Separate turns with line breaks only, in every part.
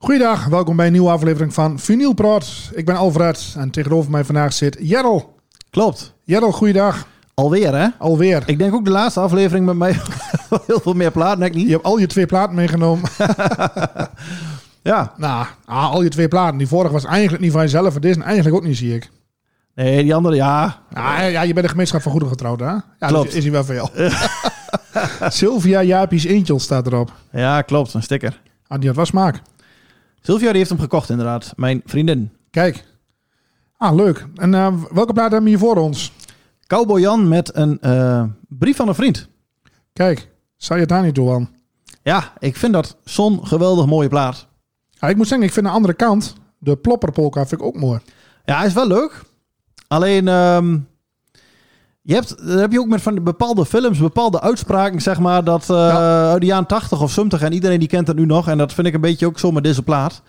Goeiedag, welkom bij een nieuwe aflevering van Vinyl Praat. Ik ben Alfred en tegenover mij vandaag zit Jerrel.
Klopt.
Jerrel, goeiedag.
Alweer, hè?
Alweer.
Ik denk ook de laatste aflevering met mij heel veel meer platen, heb ik
Je
niet.
hebt al je twee platen meegenomen.
Ja.
nou, ah, al je twee platen. Die vorige was eigenlijk niet van jezelf. En deze eigenlijk ook niet, zie ik.
Nee, die andere, ja.
Ah, ja, je bent de gemeenschap van goederen getrouwd, hè? Ja,
Klopt.
dat is hij wel voor jou. Sylvia Japies Angel staat erop.
Ja, klopt. Een sticker.
Ah, die had wel smaak.
Sylvia die heeft hem gekocht, inderdaad. Mijn vriendin.
Kijk. Ah, leuk. En eh, welke plaat hebben we hier voor ons?
Cowboy Jan met een eh, brief van een vriend.
Kijk, zou je het daar niet toe aan?
Ja, ik vind dat zo'n geweldig mooie plaat.
Ah, ik moet zeggen, ik vind de andere kant, de plopperpolka, vind ik ook mooi.
Ja, hij is wel leuk. Alleen, ehm, je hebt, daar heb je ook met van die bepaalde films, bepaalde uitspraken, zeg maar, dat eh,
Ja.
uit de jaren 80 of 70 en iedereen die kent het nu nog. En dat vind ik een beetje ook zo met deze plaat.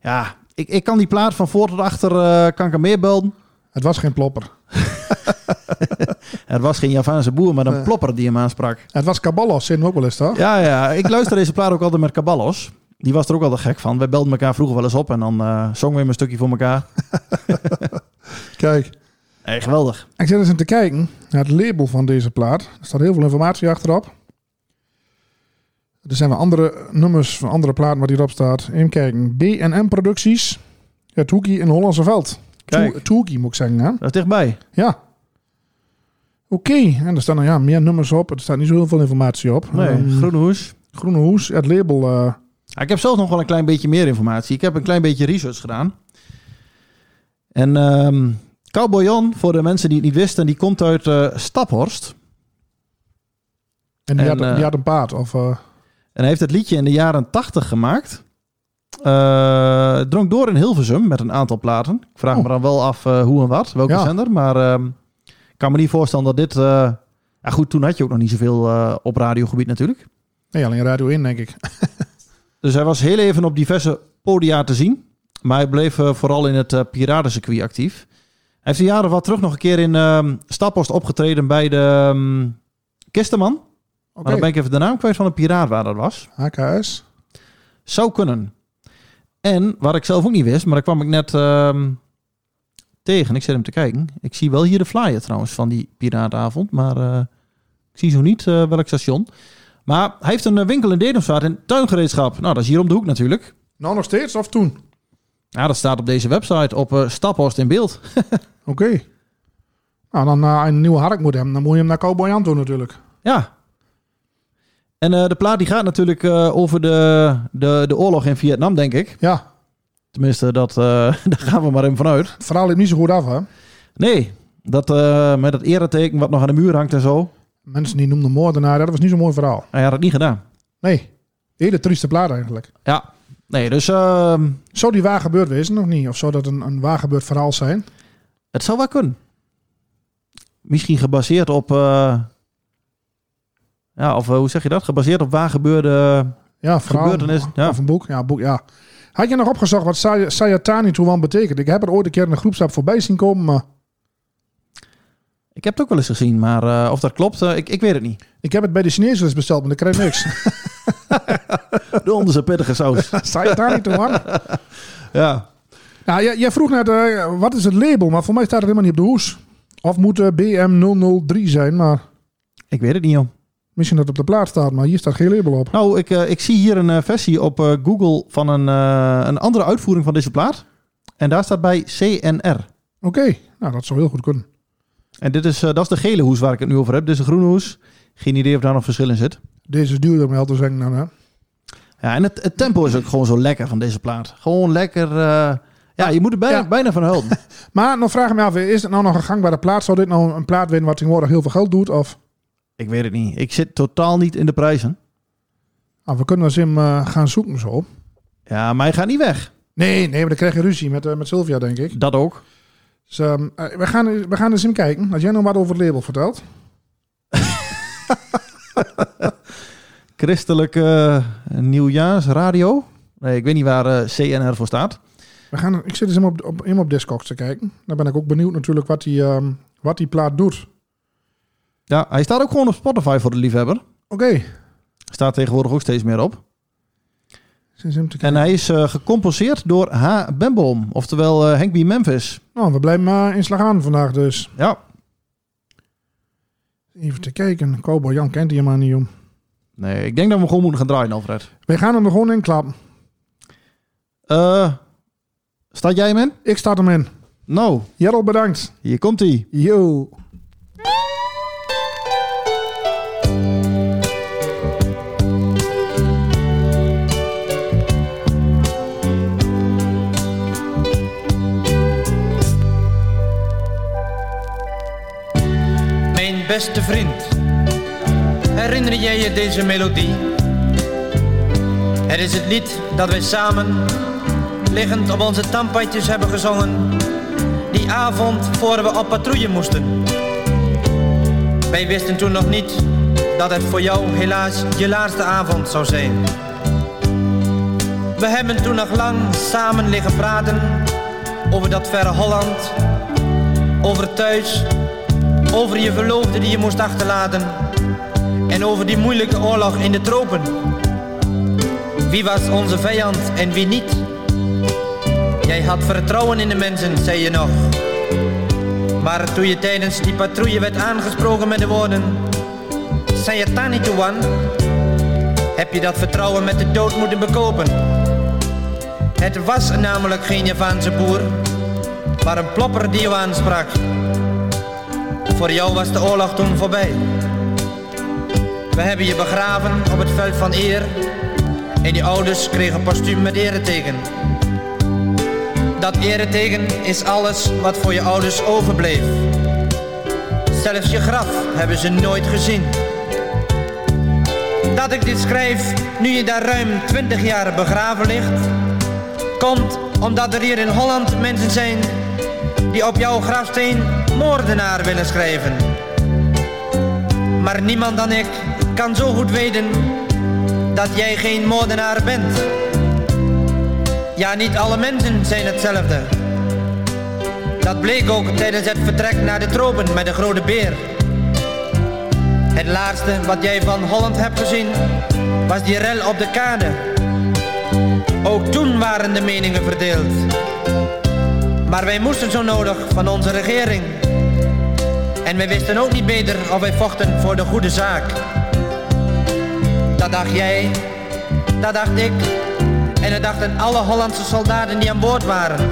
Ja, ik, ik kan die plaat van voor tot achter, eh, kan ik hem meebelden.
Het was geen plopper.
Het was geen Javaanse boer, maar een
Eh.
plopper die hem aansprak.
Het was Caballos in ook wel eens, toch?
Ja, ja, ik luister deze plaat ook altijd met Caballos. Die was er ook altijd gek van. Wij belden elkaar vroeger wel eens op en dan eh, zongen we hem een stukje voor elkaar.
Kijk.
Hey, geweldig.
Ik zit eens in te kijken naar het label van deze plaat. Er staat heel veel informatie achterop. Er zijn wel andere nummers van andere platen waar die erop staat. Even kijken. B&M Producties. Het Hoekie in Hollandse Veld.
Kijk.
Het Hoekie moet ik zeggen, hè?
Dat is dichtbij.
Ja. Oké. En er staan nou ja, meer nummers op. Er staat niet zo heel veel informatie op.
Nee,
Ehm,
groene hoes.
Groene Hoes. Het label... eh,
Ja, ik heb zelf nog wel een klein beetje meer informatie. Ik heb een klein beetje research gedaan. En ehm Cowboy Jan, voor de mensen die het niet wisten, die komt uit eh, Staphorst.
en die,
En,
had, die
eh,
had een paard. Of, eh,
En hij heeft het liedje in de jaren 80 gemaakt. Eh, het drong door in Hilversum met een aantal platen. Ik vraag
Oh.
me dan wel af eh, hoe en wat, welke
Ja.
zender. Maar ehm, ik kan me niet voorstellen dat dit... eh, ja goed, toen had je ook nog niet zoveel eh, op radiogebied natuurlijk.
nee, alleen Radio 1, denk ik.
Dus hij was heel even op diverse podia te zien. Maar hij bleef eh, vooral in het eh, piratencircuit actief. Hij heeft een jaar of wat terug nog een keer in ehm Staphorst opgetreden bij de ehm, Kisteman.
Oké.
Maar dan ben ik even de naam kwijt van de piraat waar dat was.
HKS.
Zou kunnen. En waar ik zelf ook niet wist, maar daar kwam ik net ehm, tegen. Ik zit hem te kijken. Ik zie wel hier de flyer trouwens van die piraatavond. Maar eh, ik zie zo niet eh, welk station. Maar hij heeft een eh, winkel in Dedemsvaart en tuingereedschap. Nou, dat is hier om de hoek natuurlijk.
Nou, nog steeds of toen?
Ja, dat staat op deze website op eh, Staphorst in beeld.
Oké. Nou, dan eh, een nieuwe hark moet hebben. Dan moet je hem naar Cowboy Jan toe natuurlijk.
Ja. En eh, de plaat die gaat natuurlijk eh, over de, de, de oorlog in Vietnam, denk ik.
Ja,
Tenminste, dat, eh, daar gaan we maar even vanuit.
het verhaal liep niet zo goed af, hè?
Nee, dat, eh, met dat ereteken wat nog aan de muur hangt en zo.
Mensen die noemden moordenaar, dat was niet zo'n mooi verhaal.
Hij had het niet gedaan.
Nee, hele trieste plaat eigenlijk.
Ja, nee, dus ehm,
Zou die waar gebeurd wezen of niet? Of zou dat een, een waar gebeurd verhaal zijn?
het zou wel kunnen. Misschien gebaseerd op... eh, ja, of eh, hoe zeg je dat? Gebaseerd op waar gebeurde...
Ja, verhaal.
Gebeurtenis, ja.
Of een boek. Ja, boek, ja. Had je nog opgezocht wat Say- Sayatani Tuwan betekent? Ik heb het ooit een keer in een groepsapp voorbij zien komen, maar
Ik heb het ook wel eens gezien, maar eh, of dat klopt, eh, ik, ik weet het niet.
ik heb het bij de Chinezen eens besteld, maar ik kreeg niks.
De onderste pittige saus.
Sayatani Tuwan.
ja.
Nou, jij, jij vroeg net, eh, wat is het label? Maar voor mij staat het helemaal niet op de hoes. Of moet eh, BM003 zijn, maar...
Ik weet het niet, joh.
Misschien dat het op de plaat staat, maar hier staat geen label op.
Nou, ik, eh, ik zie hier een eh, versie op eh, Google van een, eh, een andere uitvoering van deze plaat. En daar staat bij CNR.
Oké, nou dat zou heel goed kunnen.
En dit is, eh, dat is de gele hoes waar ik het nu over heb. Dit is de groene hoes. Geen idee of daar nog verschil in zit.
Deze is duurder om wel te zeggen dan, hè?
Ja, en het, het tempo is ook gewoon zo lekker van deze plaat. Gewoon lekker... eh, ja, je moet er bijna,
Ja.
bijna van houden.
Maar dan vraag ik me af, is het nou nog een gangbare plaat? Zou dit nou een plaat winnen wat tegenwoordig heel veel geld doet? Of
ik weet het niet. Ik zit totaal niet in de prijzen.
nou, ah, we kunnen eens hem eh, gaan zoeken zo.
Ja, maar hij gaat niet weg.
Nee, nee, maar dan krijg je ruzie met, eh, met Sylvia, denk ik.
Dat ook.
Dus, ehm, eh, we, gaan, we gaan eens hem kijken. Als jij nou wat over het label vertelt.
Christelijke eh, nieuwjaarsradio. Nee, ik weet niet waar eh, CNR voor staat.
We gaan, ik zit eens helemaal op, op, helemaal op Discogs te kijken. Dan ben ik ook benieuwd natuurlijk wat die, ehm, wat die plaat doet.
Ja, hij staat ook gewoon op Spotify voor de liefhebber.
Oké,
Staat tegenwoordig ook steeds meer op.
sinds hem te kijken.
En hij is eh, gecompenseerd door H. Bemboom, oftewel eh, Henk B. Memphis.
Nou, we blijven maar in slag aan vandaag dus.
Ja,
Even te kijken. Cowboy Jan kent die helemaal niet, om.
nee, ik denk dat we hem gewoon moeten gaan draaien, Alfred.
Wij gaan hem er gewoon in klappen.
Eh staat jij hem in?
Ik start hem in.
Nou,
Jarl, bedankt.
hier komt hij.
Yo.
Mijn beste vriend, herinner jij je deze melodie? Het is het lied dat wij samen, liggend op onze tandpadjes hebben gezongen. Die avond voor we op patrouille moesten. Wij wisten toen nog niet dat het voor jou helaas je laatste avond zou zijn. We hebben toen nog lang samen liggen praten over dat verre Holland, over thuis over je verloofde die je moest achterlaten. En over die moeilijke oorlog in de tropen. Wie was onze vijand en wie niet? Jij had vertrouwen in de mensen, zei je nog. Maar toen je tijdens die patrouille werd aangesproken met de woorden... Zijn je daar niet toe aan? Heb je dat vertrouwen met de dood moeten bekopen? Het was namelijk geen Javaanse boer, maar een plopper die je aansprak. Voor jou was de oorlog toen voorbij. We hebben je begraven op het veld van eer. En je ouders kregen postuum met ereteken. Dat ereteken is alles wat voor je ouders overbleef. Zelfs je graf hebben ze nooit gezien. Dat ik dit schrijf, nu je daar ruim 20 jaar begraven ligt, komt omdat er hier in Holland mensen zijn die op jouw grafsteen moordenaar willen schrijven. Maar niemand dan ik kan zo goed weten dat jij geen moordenaar bent. Ja, niet alle mensen zijn hetzelfde. Dat bleek ook tijdens het vertrek naar de tropen met de grote beer. Het laatste wat jij van Holland hebt gezien was die rel op de kade. Ook toen waren de meningen verdeeld. Maar wij moesten zo nodig van onze regering. En wij wisten ook niet beter of wij vochten voor de goede zaak. Dat dacht jij, dat dacht ik. En dat dachten alle Hollandse soldaten die aan boord waren.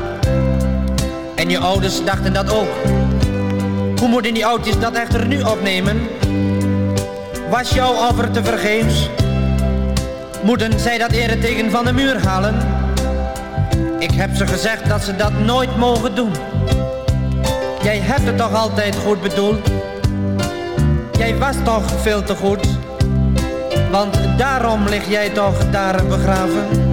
En je ouders dachten dat ook. Hoe moeten die oudjes dat echter nu opnemen? Was jouw offer te vergeefs? Moeten zij dat tegen van de muur halen? Ik heb ze gezegd dat ze dat nooit mogen doen. Jij hebt het toch altijd goed bedoeld? Jij was toch veel te goed? Want daarom lig jij toch daar begraven?